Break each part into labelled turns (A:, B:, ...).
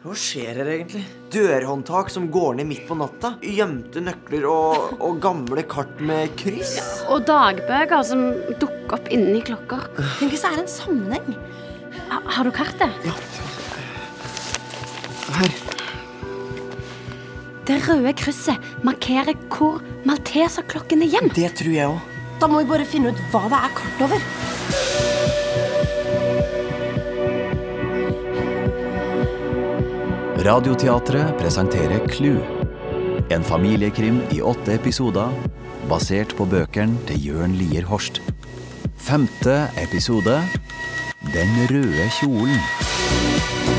A: Hva skjer her egentlig?
B: Dørhåndtak som går ned midt på natta. Gjemte nøkler og, og gamle kart med kryss.
C: Og dagbøker som dukker opp inni klokker.
D: Tenk hvis det er en sammenheng.
C: Ha, har du kartet?
B: Her.
C: Det røde krysset markerer hvor malteserklokken er gjemt.
B: Det tror jeg òg.
D: Da må vi bare finne ut hva det er kart over.
E: Radioteatret presenterer Clou. En familiekrim i åtte episoder basert på bøkene til Jørn Lier Horst. Femte episode Den røde kjolen.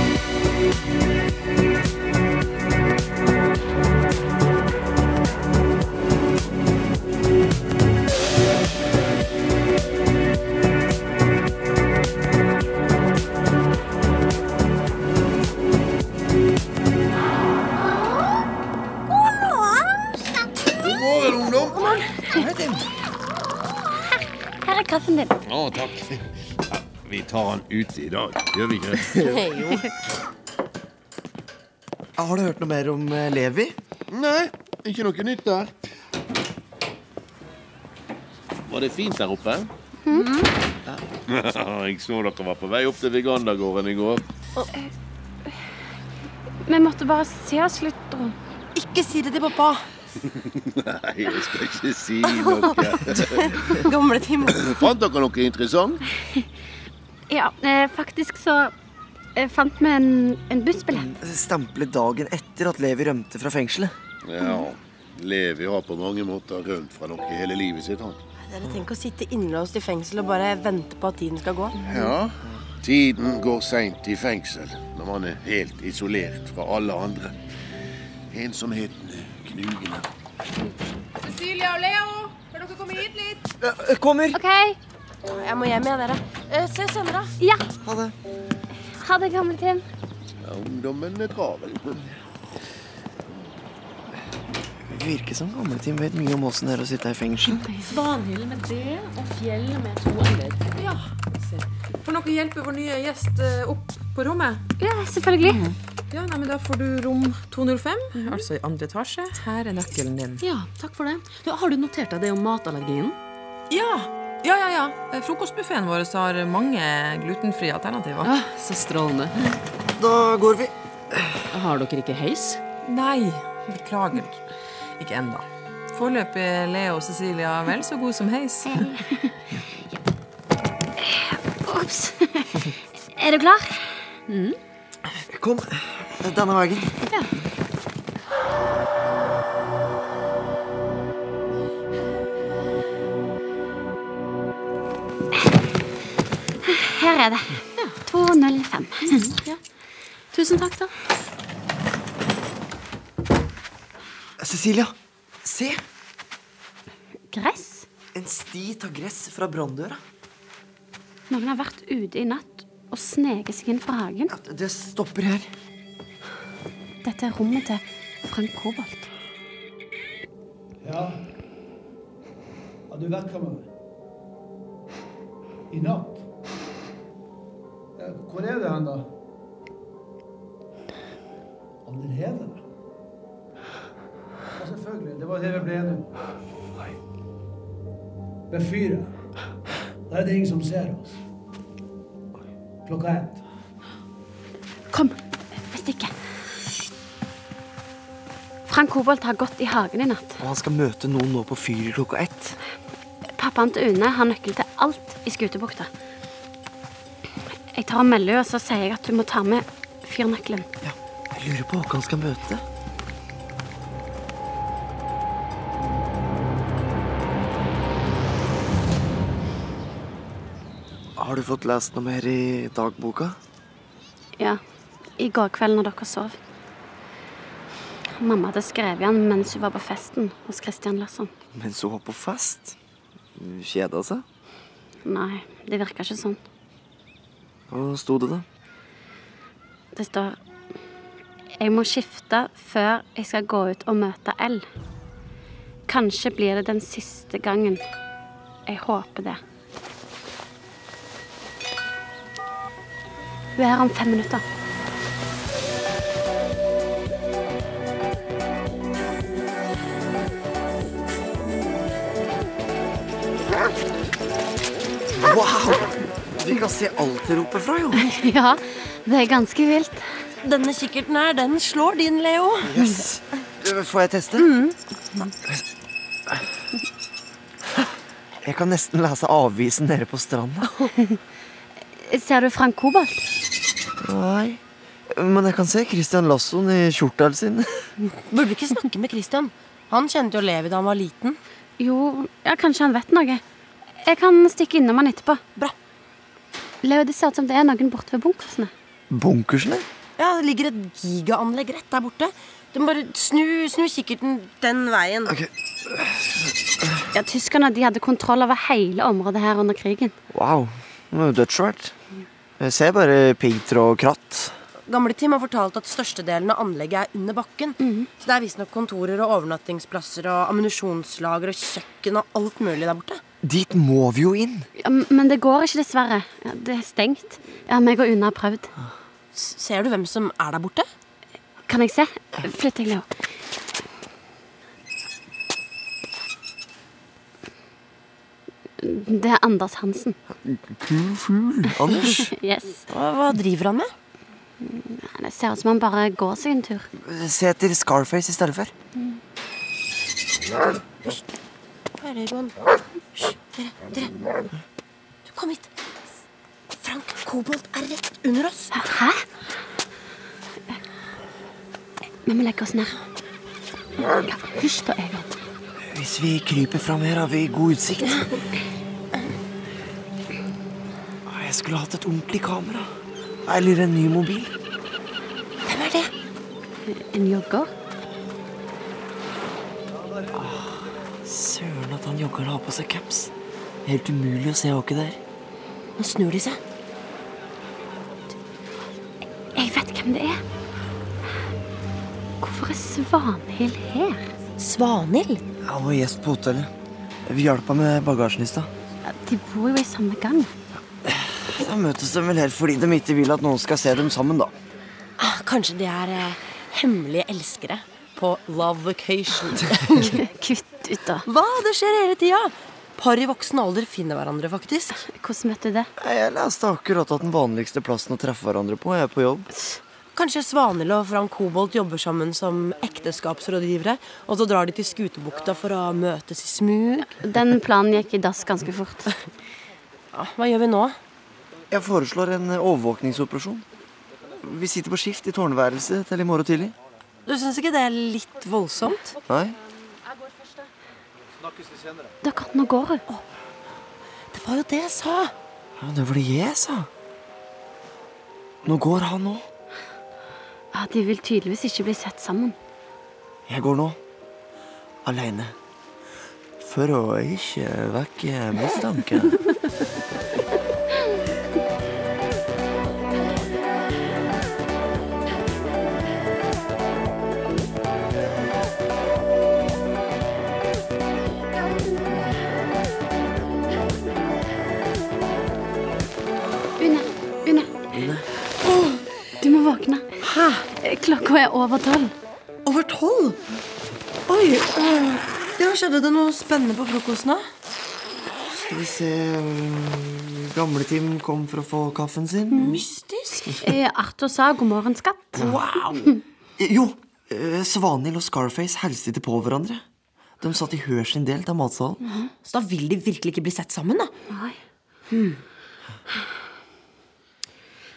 F: God morgen, ungdom.
C: Her er kaffen din.
F: Å, takk. Ja, vi tar han ute i dag, gjør vi ikke det?
B: Har du hørt noe mer om eh, Levi?
F: Nei, ikke noe nytt der. Var det fint der oppe? Mm. Ja. Jeg så dere var på vei opp til Vegandergården i går.
C: Vi måtte bare se oss litt rundt.
D: Ikke si det til pappa.
F: Nei, jeg skal ikke si noe.
D: Gamle Tim.
F: Fant dere noe interessant?
C: Ja, eh, faktisk så eh, fant vi en, en bussbillett.
B: Stemplet dagen etter at Levi rømte fra fengselet.
F: Ja. Levi har på mange måter rømt fra noe hele livet sitt, han.
D: Dere tenker å sitte innlåst i fengsel og bare vente på at tiden skal gå.
F: Ja. Tiden går seint i fengsel når man er helt isolert fra alle andre. Ensomheten er knugende.
G: Cecilia og Leo, kan dere komme hit litt?
B: Eh, Kommer!
C: OK?
D: Jeg må hjem igjen, dere. Eh, Ses senere.
C: Ja.
B: Ha det.
C: Ha det, gamle Tim.
F: Ja, ungdommen er travel.
B: Det virker som gamleteam vet mye om åssen det er å sitte i fengsel.
H: Svanhild med det, og fjellet med to l-er.
G: Ja. Kan dere hjelpe vår nye gjest eh, opp på rommet?
C: Ja, selvfølgelig.
G: Ja, nei, men Da får du rom 205, altså i andre etasje. Her er nøkkelen din.
H: Ja, takk for det. Du, har du notert deg det om matallergien?
G: Ja, ja, ja. ja. Eh, Frokostbuffeen vår har mange glutenfrie alternativer.
H: Ah, så strålende.
B: Da går vi.
H: Har dere ikke heis?
G: Nei, beklager. Ikke ennå. Foreløpig er Leo og Cecilia vel så god som heis.
C: Ops. Er du klar?
B: Kom. Denne veien.
C: Her er det. 205.
H: Tusen takk, da.
B: Cecilia, se!
C: Gress?
B: En sti tar gress fra branndøra.
C: Noen har vært ute i natt og sneket seg inn fra hagen.
B: Ja, Det stopper her.
C: Dette er rommet til Frank Kobolt.
I: Ja. Har du vært her med meg? I natt? Ja, hvor er du hen, da? Allerede? Ja, selvfølgelig. Det var det vi ble enige om. Ved fyret. Der er det ingen som ser oss. Klokka ett.
C: Kom, vi stikker. Frank Kobolt har gått i hagen i natt.
B: Og han skal møte noen nå på fyret klokka ett.
C: Pappaen til Une har nøkkel til alt i Skutebukta. Jeg tar og melder henne, og så sier jeg at hun må ta med fyrnøkkelen.
B: Ja, jeg lurer på hva han skal møte. Har du fått lest noe mer i dagboka?
C: Ja, i går kveld når dere sov. Mamma hadde skrevet han mens hun var på festen hos Christian Larsson.
B: Mens hun var på fest? Kjeda seg?
C: Nei, det virka ikke sånn.
B: Hva sto det, da?
C: Det står Jeg må skifte før jeg skal gå ut og møte L. Kanskje blir det den siste gangen. Jeg håper det. Hun er her om fem minutter.
B: Wow! Vi kan se alt det roper fra, jo.
C: Ja, det er ganske vilt.
D: Denne kikkerten her, den slår din, Leo.
B: Yes. Får jeg teste? Jeg kan nesten lese avisen nede på stranda.
C: Ser du Frank Kobolt?
B: Nei. Men jeg kan se Christian Lassoen i kjortelen sin.
D: Burde du ikke snakke med Christian? Han kjente jo Levi da han var liten.
C: Jo, ja, kanskje han vet noe. Jeg kan stikke innom han etterpå.
D: Bra.
C: Leo, det ser ut som det er noen borte ved bunkersene.
B: Bunkersene?
D: Ja, Det ligger et gigaanlegg rett der borte. Du må bare snu, snu kikkerten den veien.
B: Ok.
C: Ja, Tyskerne de hadde kontroll over hele området her under krigen.
B: Wow. Det var jo dødssvært. Jeg ser bare piggtråd og kratt.
D: Gamle Tim har fortalt at størstedelen av anlegget er under bakken. Så Det er visstnok kontorer og overnattingsplasser og ammunisjonslager og kjøkken og alt mulig der borte.
B: Dit må vi jo inn.
C: Ja, m- men det går ikke, dessverre. Ja, det er stengt. Ja, meg og Una har prøvd.
D: S ser du hvem som er der borte?
C: Kan jeg se? Flytt deg, Leo. Det er Anders Hansen.
B: Anders,
C: Yes.
D: Hva, hva driver han med?
C: Det ser ut som han bare går seg en tur.
B: se etter Scarface i stedet for.
D: Herregud. Hysj, dere, dere. Du, kom hit. Frank Kobolt er rett under oss.
C: Hæ? Vi må legge oss ned. Ja, Hysj, da, Egon.
B: Hvis vi kryper fram her, har vi god utsikt. Jeg skulle hatt et ordentlig kamera. Eller en ny mobil.
D: Hvem er det?
C: En jogger?
B: Søren at han joggeren har på seg caps. Helt umulig å se åket der.
D: Nå snur de seg.
C: Jeg vet hvem det er. Hvorfor er Svanhild her?
D: Svanhild?
B: Han var gjest på hotellet. Vi hjalp ham med bagasjen i stad.
C: Ja, De bor jo i samme gang.
B: Da møtes de vel her fordi de ikke vil at noen skal se dem sammen, da.
D: Ah, Kanskje de er eh, hemmelige elskere på love vacation.
C: Kutt ut, da.
D: Hva? Det skjer hele tida. Par i voksen alder finner hverandre, faktisk.
C: Hvordan vet du det?
B: Jeg leste akkurat at den vanligste plassen å treffe hverandre på er på jobb.
D: Kanskje Svanhild og Frank Kobolt jobber sammen som ekteskapsrådgivere, og så drar de til Skutebukta for å møtes i smug.
C: Den planen gikk i dass ganske fort.
D: Ah, Hva gjør vi nå?
B: Jeg foreslår en overvåkningsoperasjon. Vi sitter på skift i tårnværelset til i morgen tidlig.
D: Du syns ikke det er litt voldsomt?
B: Nei?
C: Dere, nå går hun.
D: Det var jo det jeg sa.
B: Ja, det var det jeg sa. Nå går han nå.
C: Ja, de vil tydeligvis ikke bli sett sammen.
B: Jeg går nå. Aleine. For å ikke vekke mistanke.
C: Une, Une. Åh, Du må våkne. Hæ? Klokka er over tolv.
D: Over tolv? Oi. øh, Ja, skjedde det noe spennende på frokosten, da?
B: Skal vi se Gamletim kom for å få kaffen sin.
D: Mystisk.
C: Eh, Arthur sa god morgen, skatt.
B: Jo, eh, Svanhild og Scarface hilste ikke på hverandre. De satt i hver sin del av matsalen.
D: Så da vil de virkelig ikke bli sett sammen, da.
C: Nei.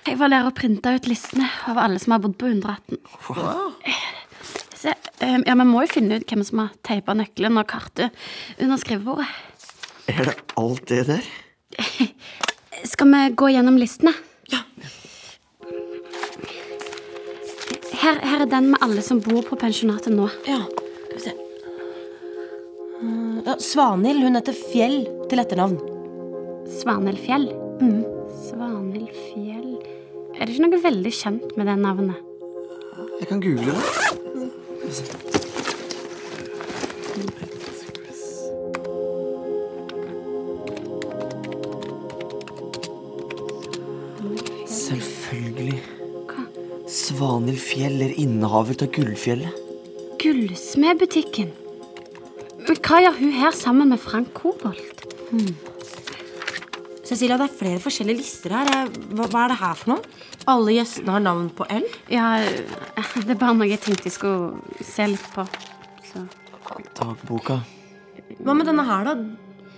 C: Jeg var der og printa ut listene over alle som har bodd på 118. Se, eh, ja, Vi må jo finne ut hvem som har teipa nøkkelen og kartet under skrivebordet.
B: Er det alt det der?
C: Skal vi gå gjennom listene? Her, her er den med alle som bor på pensjonatet nå.
D: Ja, skal vi se. Mm, Ja, Svanhild, hun heter Fjell til etternavn.
C: Svanhild Fjell. Svanhild Fjell Er det ikke noe veldig kjent med det navnet?
B: Jeg kan google det. Selvfølgelig.
C: Hva?
B: Svanhild Fjell er innehaver av Gullfjellet.
C: Gullsmedbutikken. Men hva gjør hun her sammen med Frank Kobolt?
D: Cecilia, det er flere forskjellige lister her. Eh, Hva, hva er det her for noe? Alle gjestene har navn på L.
C: Ja, eh, det er bare noe jeg tenkte jeg skulle se litt på. Så.
B: Dagboka.
D: Hva med denne her, da?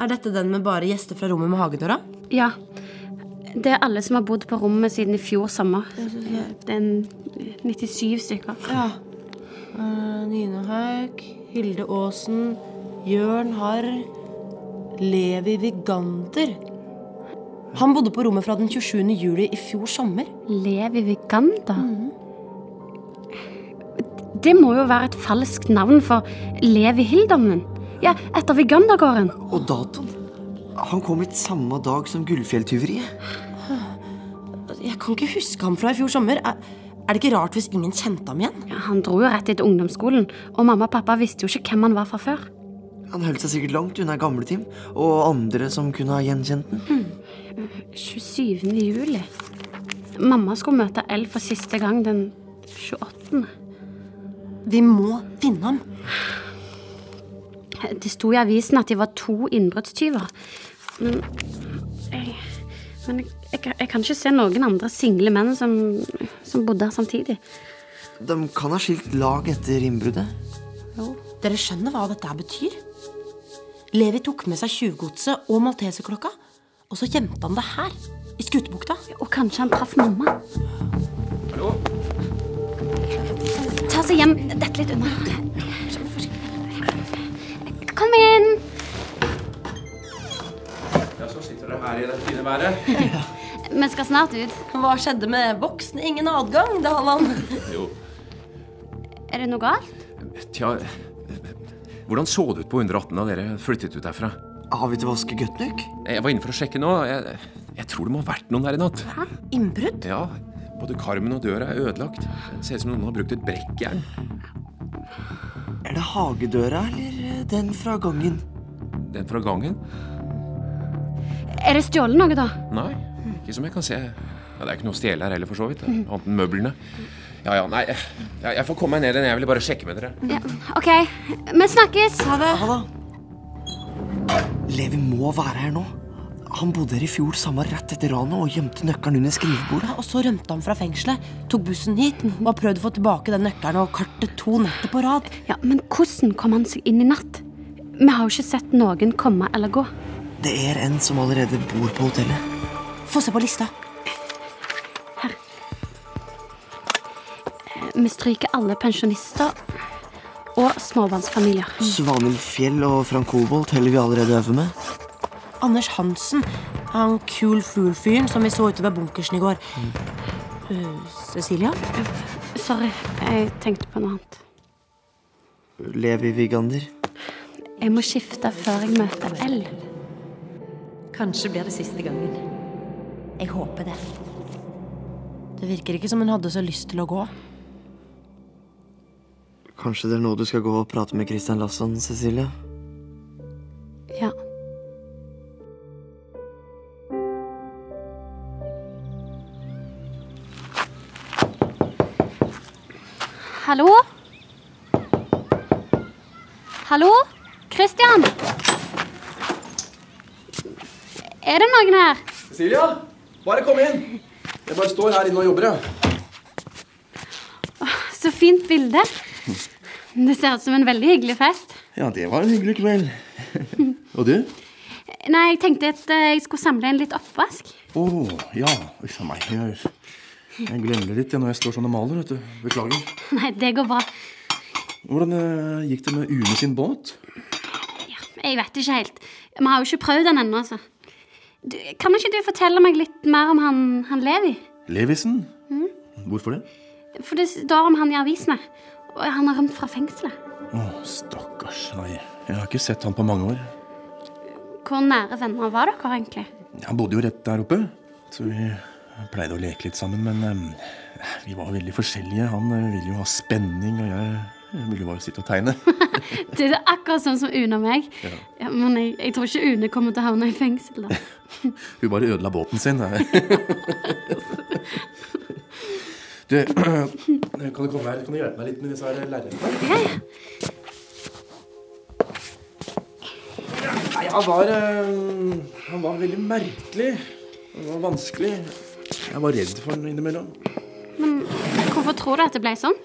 D: Er dette den med bare gjester fra rommet med hagedøra?
C: Ja. Det er alle som har bodd på rommet siden i fjor sommer. Det er en eh, 97 stykker.
D: Ja. Eh, Nine Haug, Hilde Aasen, Jørn Harr, Levi Viganter. Han bodde på rommet fra den 27. juli i fjor sommer.
C: Levi Viganda? Mm. Det må jo være et falskt navn for Levi Hildommen. Ja, etter Vigandagården.
B: Og datoen. Han kom hit samme dag som Gullfjelltyveriet.
D: Jeg kan ikke huske ham fra i fjor sommer. Er, er det ikke rart hvis ingen kjente ham igjen?
C: Ja, han dro jo rett etter ungdomsskolen, og mamma og pappa visste jo ikke hvem han var fra før.
B: Han holdt seg sikkert langt unna gamleteam og andre som kunne ha gjenkjent den.
C: 27. juli. Mamma skulle møte El for siste gang den 28.
D: Vi må finne ham.
C: Det sto i avisen at de var to innbruddstyver. Men jeg, men jeg, jeg, kan- jeg kan ikke se noen andre single menn som, som bodde her samtidig.
B: De kan ha skilt lag etter innbruddet.
D: Dere skjønner hva dette her betyr? Levi tok med seg tjuvgodset og malteserklokka, og så gjemte han det her, i Skutebukta.
C: Og kanskje han traff mamma. Ta seg hjem. Dette litt unna. Kom inn. Ja, så sitter dere her i det fine været. Vi skal snart ut.
D: Hva skjedde med boksen? Ingen adgang, det hadde han.
C: Er det noe galt?
A: Tja Hvordan så det ut på 118 da dere flyttet ut derfra?
B: Har vi til å vaske Gutnuk?
A: Jeg var inne for å sjekke nå. Jeg, jeg tror det må ha vært noen her i natt.
D: Innbrudd?
A: Ja, Både karmen og døra er ødelagt. Det ser ut som noen har brukt et brekkjern.
B: Er det hagedøra eller den fra gangen?
A: Den fra gangen?
C: Er det stjålet noe, da?
A: Nei, ikke som jeg kan se. Ja, det er ikke noe å stjele her heller, for så vidt. Annet enn møblene. Ja ja, nei. Jeg, jeg får komme meg ned igjen. Jeg ville bare sjekke med dere.
C: Ja. OK, vi snakkes.
D: Ha det.
B: Ha det. Levi må være her nå. Han bodde her i fjor samme rett etter ranet og gjemte nøkkelen under skrivebordet.
D: Og så rømte han fra fengselet, tok bussen hit og har prøvd å få tilbake den nøkkelen og kartet to netter på rad.
C: Ja, Men hvordan kom han seg inn i natt? Vi har jo ikke sett noen komme eller gå.
B: Det er en som allerede bor på hotellet.
D: Få se på lista.
C: Vi stryker alle pensjonister og småbarnsfamilier.
B: Svanhild Fjell og Frank Kobolt teller vi allerede over med.
D: Anders Hansen, han cool fool-fyren som vi så ute ved bunkersen i går. Uh, Cecilia?
C: Sorry, jeg tenkte på noe annet.
B: Levi Vigander.
C: Jeg må skifte før jeg møter L.
J: Kanskje blir det siste gangen. Jeg håper det.
D: Det virker ikke som hun hadde så lyst til å gå.
B: Kanskje det er nå du skal gå og prate med Christian Lasson, Cecilie?
C: Ja. Hallo? Hallo? Christian? Er det noen her?
I: Silja, bare kom inn. Jeg bare står her inne og jobber, jeg.
C: Så fint bilde. Det ser ut som en veldig hyggelig fest.
F: Ja, det var en hyggelig kveld. Og du?
C: Nei, jeg tenkte at eh, jeg skulle samle inn litt oppvask.
F: Å, ja. Uff a meg. Jeg, jeg glemmer det litt jeg, når jeg står sånn og maler. vet du. Beklager.
C: Nei, det går bra.
F: Hvordan eh, gikk det med Une sin båt?
C: Jeg vet ikke helt. Vi har jo ikke prøvd den ennå, altså. Du, kan ikke du fortelle meg litt mer om han, han Levi?
F: Levisen? Hvorfor det?
C: For det står om han i avisene. Og han har rømt fra fengselet.
F: Å, stakkars. Nei, jeg har ikke sett han på mange år.
C: Hvor nære venner var dere egentlig?
F: Han bodde jo rett der oppe, så vi pleide å leke litt sammen. Men eh, vi var veldig forskjellige. Han eh, ville jo ha spenning, og jeg, jeg ville jo bare sitte og tegne.
C: Det er akkurat sånn som Une og meg. Ja, men jeg, jeg tror ikke Une kommer til å havne i fengsel. da.
F: Hun bare ødela båten sin. Du, kan du komme her? Kan du hjelpe meg litt med disse her lerretene?
E: Nei, han var eh, Han var veldig merkelig. Han var vanskelig. Jeg var redd for han innimellom.
C: Men hvorfor tror du at det ble sånn?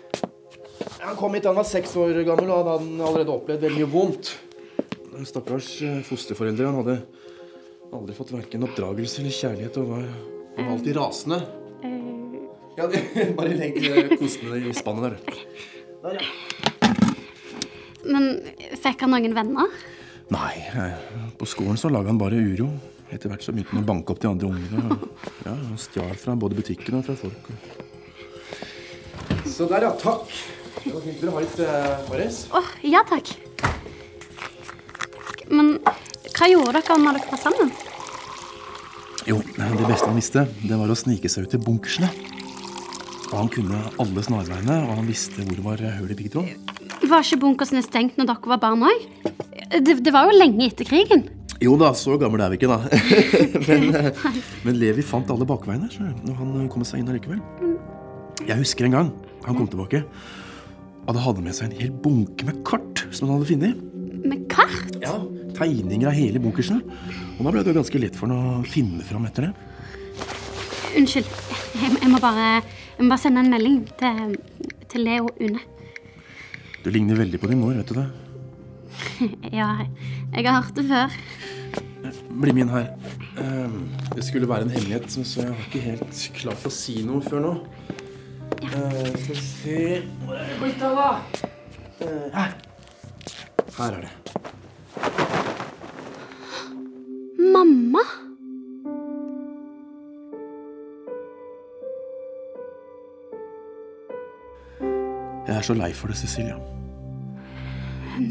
E: Han kom hit da han var seks år gammel, og han hadde allerede opplevd veldig mye vondt. Den stakkars eh, fosterforeldre. Han hadde aldri fått verken oppdragelse eller kjærlighet, og var, han var alltid rasende. Ja, bare legg eh, kosene i spannet der, du.
C: Men fikk han noen venner?
E: Nei, eh, på skolen så laga han bare uro. Etter hvert så begynte han å banke opp de andre ungene. og- Ja, han Stjal fra både butikken og fra folk. Så der, ja. Takk. Det var fint dere har litt eh, Morris.
C: Åh, ja takk. Men hva gjorde dere når dere var sammen?
E: Jo, det beste han visste, det var å snike seg ut til bunkersene. Og han kunne alle snarveiene, og han visste hvor det var hull i piggtråden.
C: Var ikke bunkersene stengt når dere var barn òg? Det, det var jo lenge etter krigen.
E: Jo da, så gammel er vi ikke, da. men, eh, men Levi fant alle bakveiene, skjønner du, når han eh, kom seg inn allikevel. Jeg husker en gang han kom tilbake, og da hadde han med seg en hel bunke med kart som han hadde funnet.
C: Med kart?
E: Ja. Tegninger av hele bunkersen. Og da ble det jo ganske lett for han å finne fram etter det.
C: Unnskyld. Jeg, jeg, må bare, jeg må bare sende en melding til, til Leo Une.
E: Du ligner veldig på din mor, vet du det.
C: Ja, jeg har hørt det før.
E: Bli med inn her. Ehm, Det skulle være en hemmelighet, så- så jeg har ikke helt klart å si noe før nå. Eh, Skal vi se Eh, her. Her er det.
C: Mamma?
E: Jeg er så lei for det, Cecilia.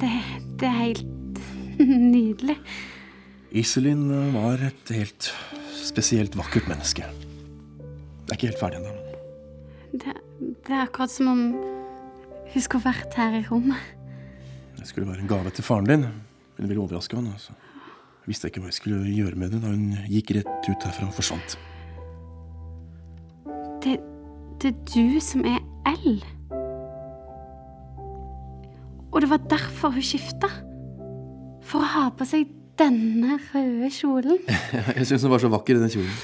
C: Det, det er helt nydelig.
E: Iselin eh, var et helt spesielt vakkert menneske. Det er ikke helt ferdig ennå. men
C: Det, det er akkurat som om hun skulle vært her i rommet.
E: Det skulle være en gave til faren din. Hun ville overraske han. Altså. Jeg visste ikke hva jeg skulle gjøre med det da hun gikk rett ut herfra og forsvant.
C: Det, det er du som er L. Og det var derfor hun skifta. For å ha på seg denne røde kjolen.
E: Jeg syns hun var så vakker i den kjolen.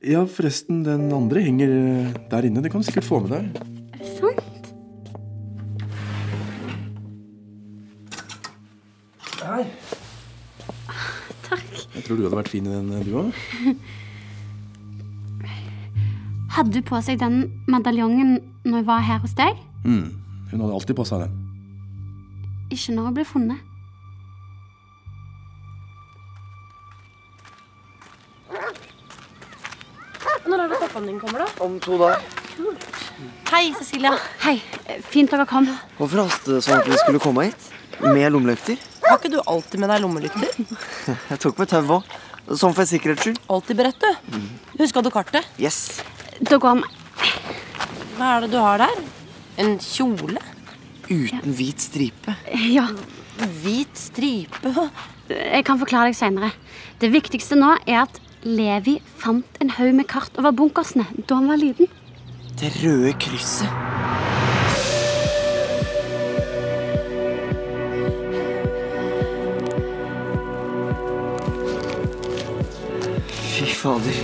E: Ja, forresten, den andre henger eh, der inne. Det kan du sikkert få med deg.
C: Er det sant?
E: Der.
C: Takk.
E: Jeg tror du hadde vært fin i den, eh, du òg.
C: Hadde hun på seg den medaljongen når hun var her hos deg?
E: Mm. Hun hadde alltid passa den.
C: Ikke når hun ble funnet.
K: Når er det pappaen din kommer, da?
B: Om to dager.
C: Hei, Cecilia. Hei. Fint dere kom.
B: Hvorfor hastet det sånn at vi skulle komme hit? Med lommelykter?
D: Har ikke du alltid med deg lommelykter?
B: Jeg tok med tau òg. Sånn for sikkerhets skyld.
D: Alltid beredt, du. Huska du kartet?
B: Yes.
C: Da går vi.
D: Hva er det du har der? En kjole?
B: Uten hvit stripe.
C: Ja.
D: Hvit stripe?
C: Jeg kan forklare deg seinere. Det viktigste nå er at Levi fant en haug med kart over bunkersene da han var liten.
B: Det røde krysset. Fy fader.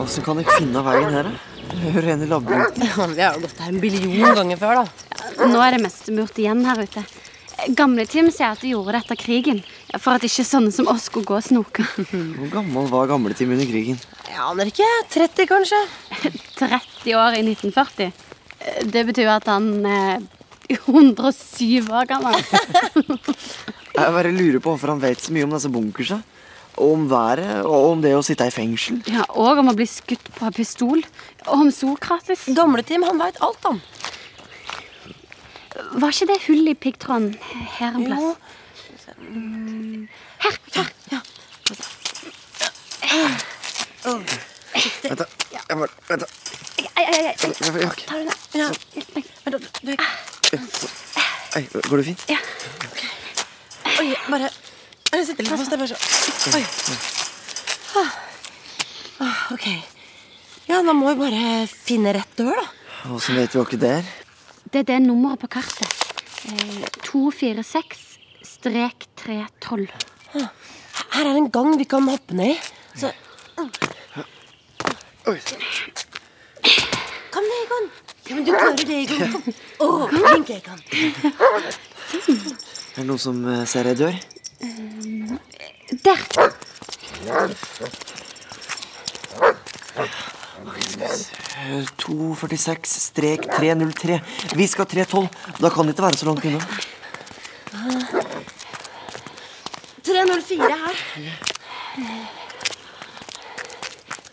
B: Åssen kan jeg finne veien her, da? Jeg hører en i labben.
D: Ja, Vi har jo gått her en billion ganger før, da.
C: Nå er det meste murt igjen her ute. Gamle Tim sier at de gjorde det etter krigen, for at ikke sånne som oss skulle gå og snoke.
B: Hvor gammel var gamletime under krigen?
D: Jeg aner ikke. 30, kanskje?
C: 30 år i 1940. Det betyr jo at han eh, er 107 år gammel.
B: Jeg bare lurer på hvorfor han vet så mye om disse bunkersa. Og om været, og om det å sitte i fengsel.
C: Ja, og om å bli skutt på av pistol. Og om Sokrates.
D: Gamle-Tim, han veit alt, han.
C: Var ikke det hullet i piggtråden her en plass?
D: Jo.
B: Vent, da. Jeg bare Vent, da.
C: Ai, ai, ai, ai.
B: Jeg- jeg-
C: Tar du den?
D: Ja. Men da- du,
B: Ei, Går det fint?
D: oi, bare Jeg sitter litt fast. Jeg bare så Oi. Ah. Ah, OK. Ja, da må vi bare finne rett dør, da.
B: Åssen vet vi hva ikke det er?
C: Det er det nummeret på kartet. Eh, 246 Strek 312.
D: Her er en gang vi kan hoppe ned i. Så...
L: Kom ned, Egon. Ja, men du klarer det, Egon. Kom. Å, flink, Egon. Sånn.
B: Er det noen som eh, ser ei dør?
C: Der.
B: Eh, 246-303. Vi skal 312. Da kan det ikke være så langt unna.
L: 304 her.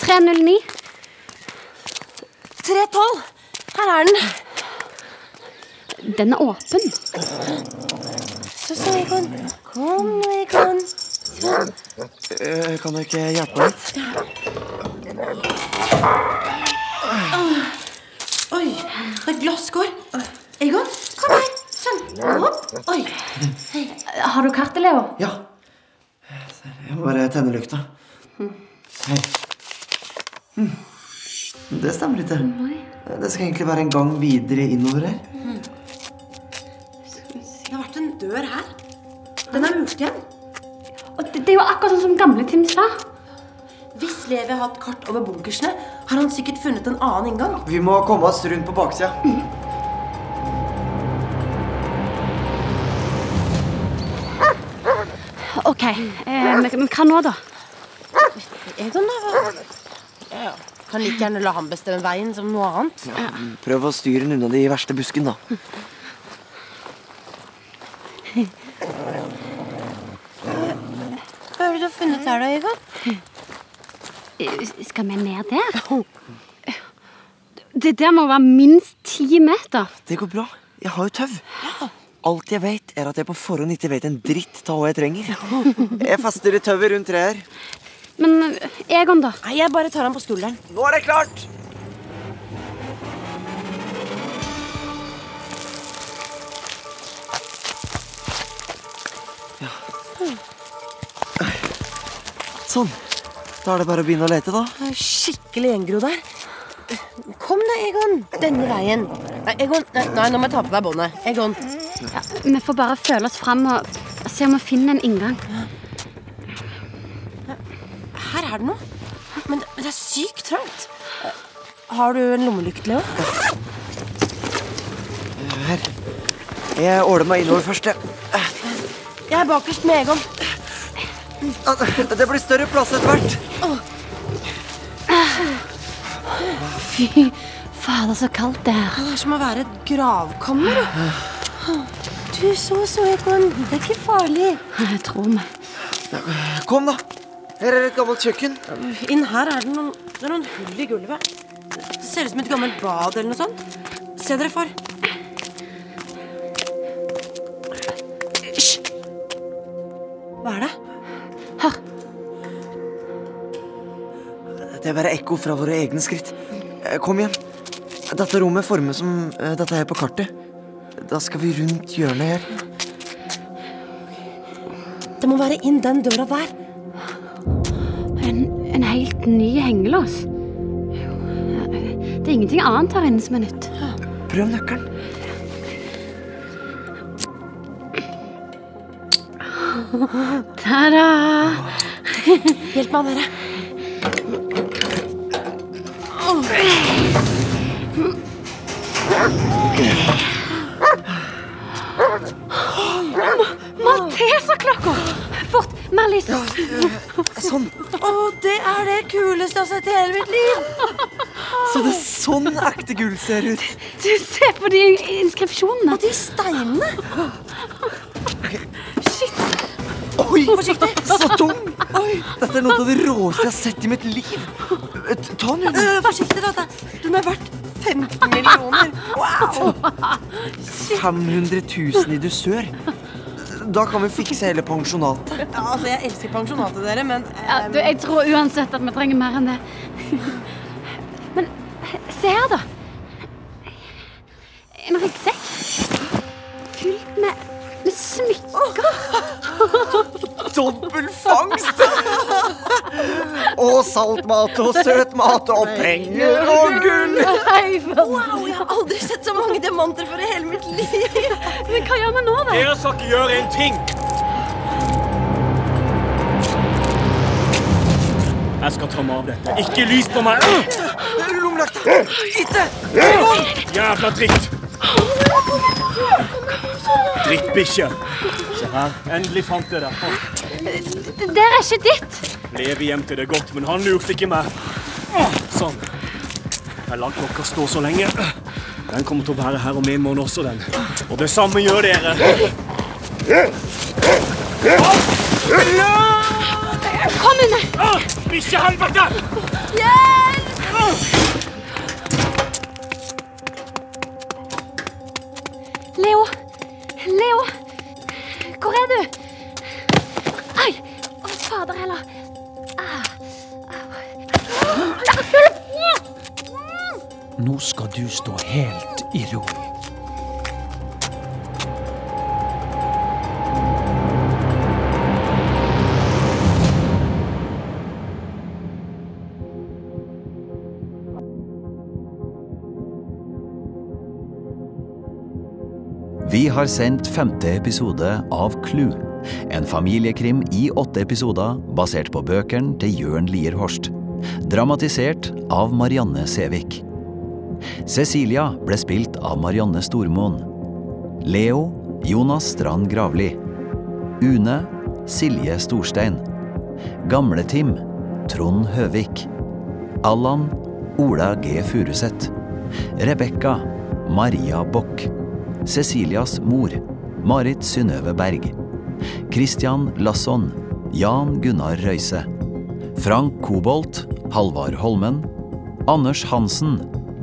C: 309.
L: 312. Her er den.
C: Den er åpen.
L: Så, så, Egon. Kom nå, Egon. Sånn.
B: Eh, Kan du ikke hjelpe meg litt?
L: Ah. Oi, det er glasskår. Egon, kom her. Sånn. Hopp. Oi.
C: Har du kartet, Leo?
B: Ja. Eh, Jeg må bare tenne lykta. Hei. Hm. Det stemmer ikke. Eh, Det skal egentlig være en gang videre innover her.
L: Det har vært en dør her. Den er murt igjen.
C: Og det, det er jo akkurat sånn som gamle Tim sa.
L: Hvis Levi har hatt kart over bunkersene, har han sikkert funnet en annen inngang.
B: Vi må komme oss rundt på baksida.
C: OK. Eh, men, men hva nå, da?
D: Egon, da? Ja, Kan like gjerne la han bestemme veien som noe annet.
B: Mm. Prøv å styre den unna de verste buskene, da.
D: Hva er det du har funnet her, da, Egon?
C: Eh, Skal vi ned der? Det der må være minst ti meter.
B: Det går bra. Jeg har jo tau. Alt jeg vet, er at jeg på forhånd ikke vet en dritt av hva jeg trenger. Jeg fester i tauet rundt treet her.
C: Men Egon, da?
D: Nei, Jeg bare tar han på skulderen.
B: Nå er det klart! Sånn. Da er det bare å begynne å lete, da.
D: Det er Skikkelig gjengro der. Kom da, Egon. Denne veien. Nei, Egon, nei, nei, nå må jeg ta på deg båndet. Egon.
C: Ja, vi får bare føle oss fram og og se om vi finner en inngang.
D: Her er det noe. Men, det- men det er sykt trangt. Eh, Har du en lommelykt, Leo?
B: Her. Jeg åler meg innover først, jeg.
D: Jeg er bakerst med Egon.
B: Det blir større plass etter hvert.
C: Fy fader, så kaldt det er.
D: Det er som å være et gravkammer. da. Du, så, så, Egon. Det er ikke farlig.
C: Jeg tror vi.
B: Kom, da. Her er et gammelt kjøkken.
D: Inn her er det noen, det er noen hull i gulvet. Det ser ut som et gammelt bad eller noe sånt. Se dere for.
C: Hysj!
D: Hva er det?
B: Det er bare ekko fra våre egne skritt. Eh, Kom igjen. Dette rommet formes som eh, dette her på kartet. Da skal vi rundt hjørnet her.
D: Det må være inn den døra der.
C: En, en helt ny hengelås. Det er ingenting annet her inne som er nytt.
B: Prøv nøkkelen.
C: Ta-da!
D: Hjelp meg, dere.
C: Malteserklokka! Fort, Mallis!
B: Sånn.
D: Å, det er det kuleste jeg har sett i hele mitt liv!
B: Så det er sånn ekte gull ser ut.
C: Du, se på de inskripsjonene.
D: Og de steinene.
B: Oi! Forsiktig. Så tung. Oi. Dette er noe av det råeste jeg har sett i mitt liv. Eh, Ta den unna.
D: Øh, Forsiktig, da. Den er verdt 15 millioner. Wow!
B: 500 000 i dusør. Da kan vi fikse hele pensjonatet.
D: Ja, altså, Jeg elsker pensjonatet dere, men
C: Ja, du, jeg tror uansett at vi trenger mer enn det. Men se her, da. En ryggsekk fylt med, med smykker.
B: Dobbel fangst! Og saltmat og søtmat og penger og gull.
D: eh, Wow, jeg har aldri sett så mange diamanter for i hele mitt liv.
C: Men hva gjør vi nå,
M: Dere skal ikke gjøre en ting! Jeg skal ta meg av dette. Ikke lys på meg!
L: Der er lommelykta! Skyte! Egon!
M: Jævla dritt! Drittbikkje. Se her. Endelig fant jeg deg.
C: Det der er ikke ditt.
M: Levi gjemte det godt, men han lurte ikke meg. Sånn. Jeg lar klokka stå så lenge. Den kommer til å være her om en måned også, den. Og det samme gjør dere.
C: Kom under!
M: Bikkje Ah, helvete!
C: Hjelp! Leo. Leo. Hvor er du? Ai! Å, fader heller. Ah.
N: Nå skal du stå helt i ro.
E: Vi har sendt femte episode av Clue. En familiekrim i åtte episoder basert på bøkene til Jørn Lier Horst. Dramatisert av Marianne Sævik. Cecilia ble spilt av Marianne Stormoen. Leo Jonas Strand Gravli. Une Silje Storstein. Gamle-Tim Trond Høvik. Allan Ola G. Furuseth. Rebekka Maria Bock. Cecilias mor, Marit Synnøve Berg. Christian Lasson, Jan Gunnar Røise. Frank Kobolt, Halvard Holmen. Anders Hansen,